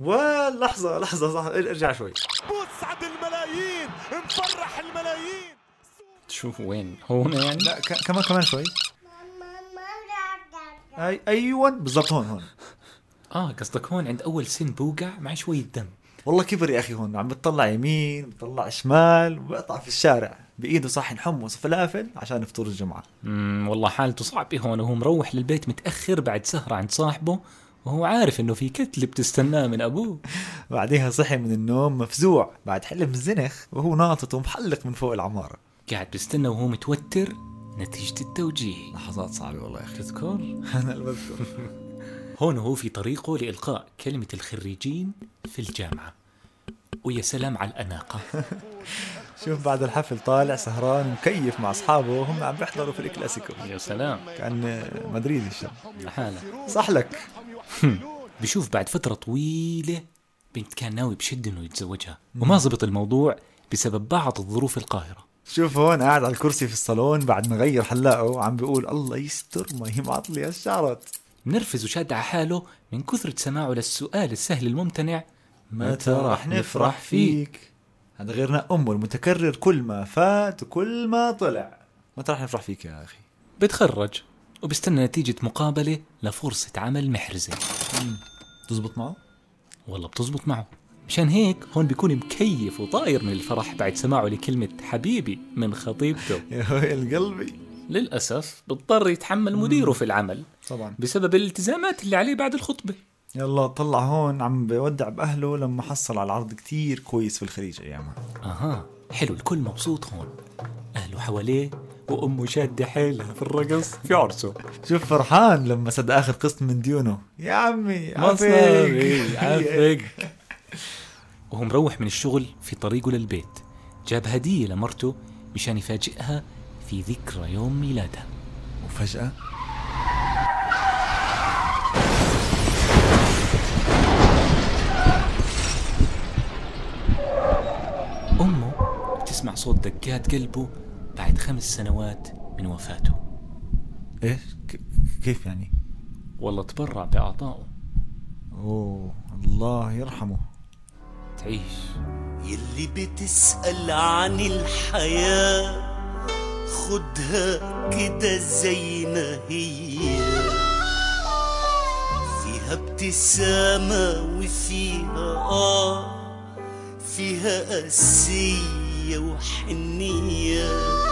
ولحظة لحظة صح ارجع شوي مسعد الملايين مفرح الملايين شوف وين هون يعني لا ك- كمان كمان شوي أي ايوه بالضبط هون هون اه قصدك هون عند اول سن بوقع مع شوية دم والله كبر يا اخي هون عم بتطلع يمين بتطلع شمال وبقطع في الشارع بايده صحن حمص وفلافل عشان فطور الجمعه امم والله حالته صعبة هون وهو مروح للبيت متأخر بعد سهرة عند صاحبه وهو عارف انه في كتلة بتستناه من ابوه بعديها صحي من النوم مفزوع بعد حلم زنخ وهو ناطط ومحلق من فوق العماره قاعد بيستنى وهو متوتر نتيجة التوجيه لحظات صعبه والله يا اخي تذكر؟ انا اللي بذكر هون هو في طريقه لإلقاء كلمة الخريجين في الجامعة ويا سلام على الأناقة شوف بعد الحفل طالع سهران مكيف مع اصحابه وهم عم بيحضروا في الكلاسيكو يا سلام كان مدريد الشاب لحالة صح لك بشوف بعد فترة طويلة بنت كان ناوي بشد انه يتزوجها وما زبط الموضوع بسبب بعض الظروف القاهرة شوف هون قاعد على الكرسي في الصالون بعد ما غير حلاقه وعم بيقول الله يستر ما هي معطلي هالشعرت منرفز وشاد على حاله من كثرة سماعه للسؤال السهل الممتنع هذا غير نق امه المتكرر كل ما فات وكل ما طلع متى رح نفرح فيك يا اخي بتخرج وبستنى نتيجة مقابلة لفرصة عمل محرزة تزبط معه؟ والله بتزبط معه مشان هيك هون بيكون مكيف وطاير من الفرح بعد سماعه لكلمة حبيبي من خطيبته يا ويل قلبي للأسف بضطر يتحمل مديره في العمل طبعا بسبب الالتزامات اللي عليه بعد الخطبة يلا طلع هون عم بودع باهله لما حصل على عرض كتير كويس في الخليج ايامها أها حلو الكل مبسوط هون أهله حواليه وأمه شادة حيلها في الرقص في عرسه شوف فرحان لما سد اخر قسط من ديونه يا عمي مصاري عافيك. عافيك وهو مروح من الشغل في طريقه للبيت جاب هدية لمرته مشان يفاجئها في ذكرى يوم ميلادها وفجاه أمه بتسمع صوت دقات قلبه بعد خمس سنوات من وفاته ايش ك- كيف يعني والله تبرع بأعضائه اوه الله يرحمه تعيش يلي بتسأل عن الحياة خدها كده زي ما هي فيها ابتسامة وفيها آه فيها قسية وحنية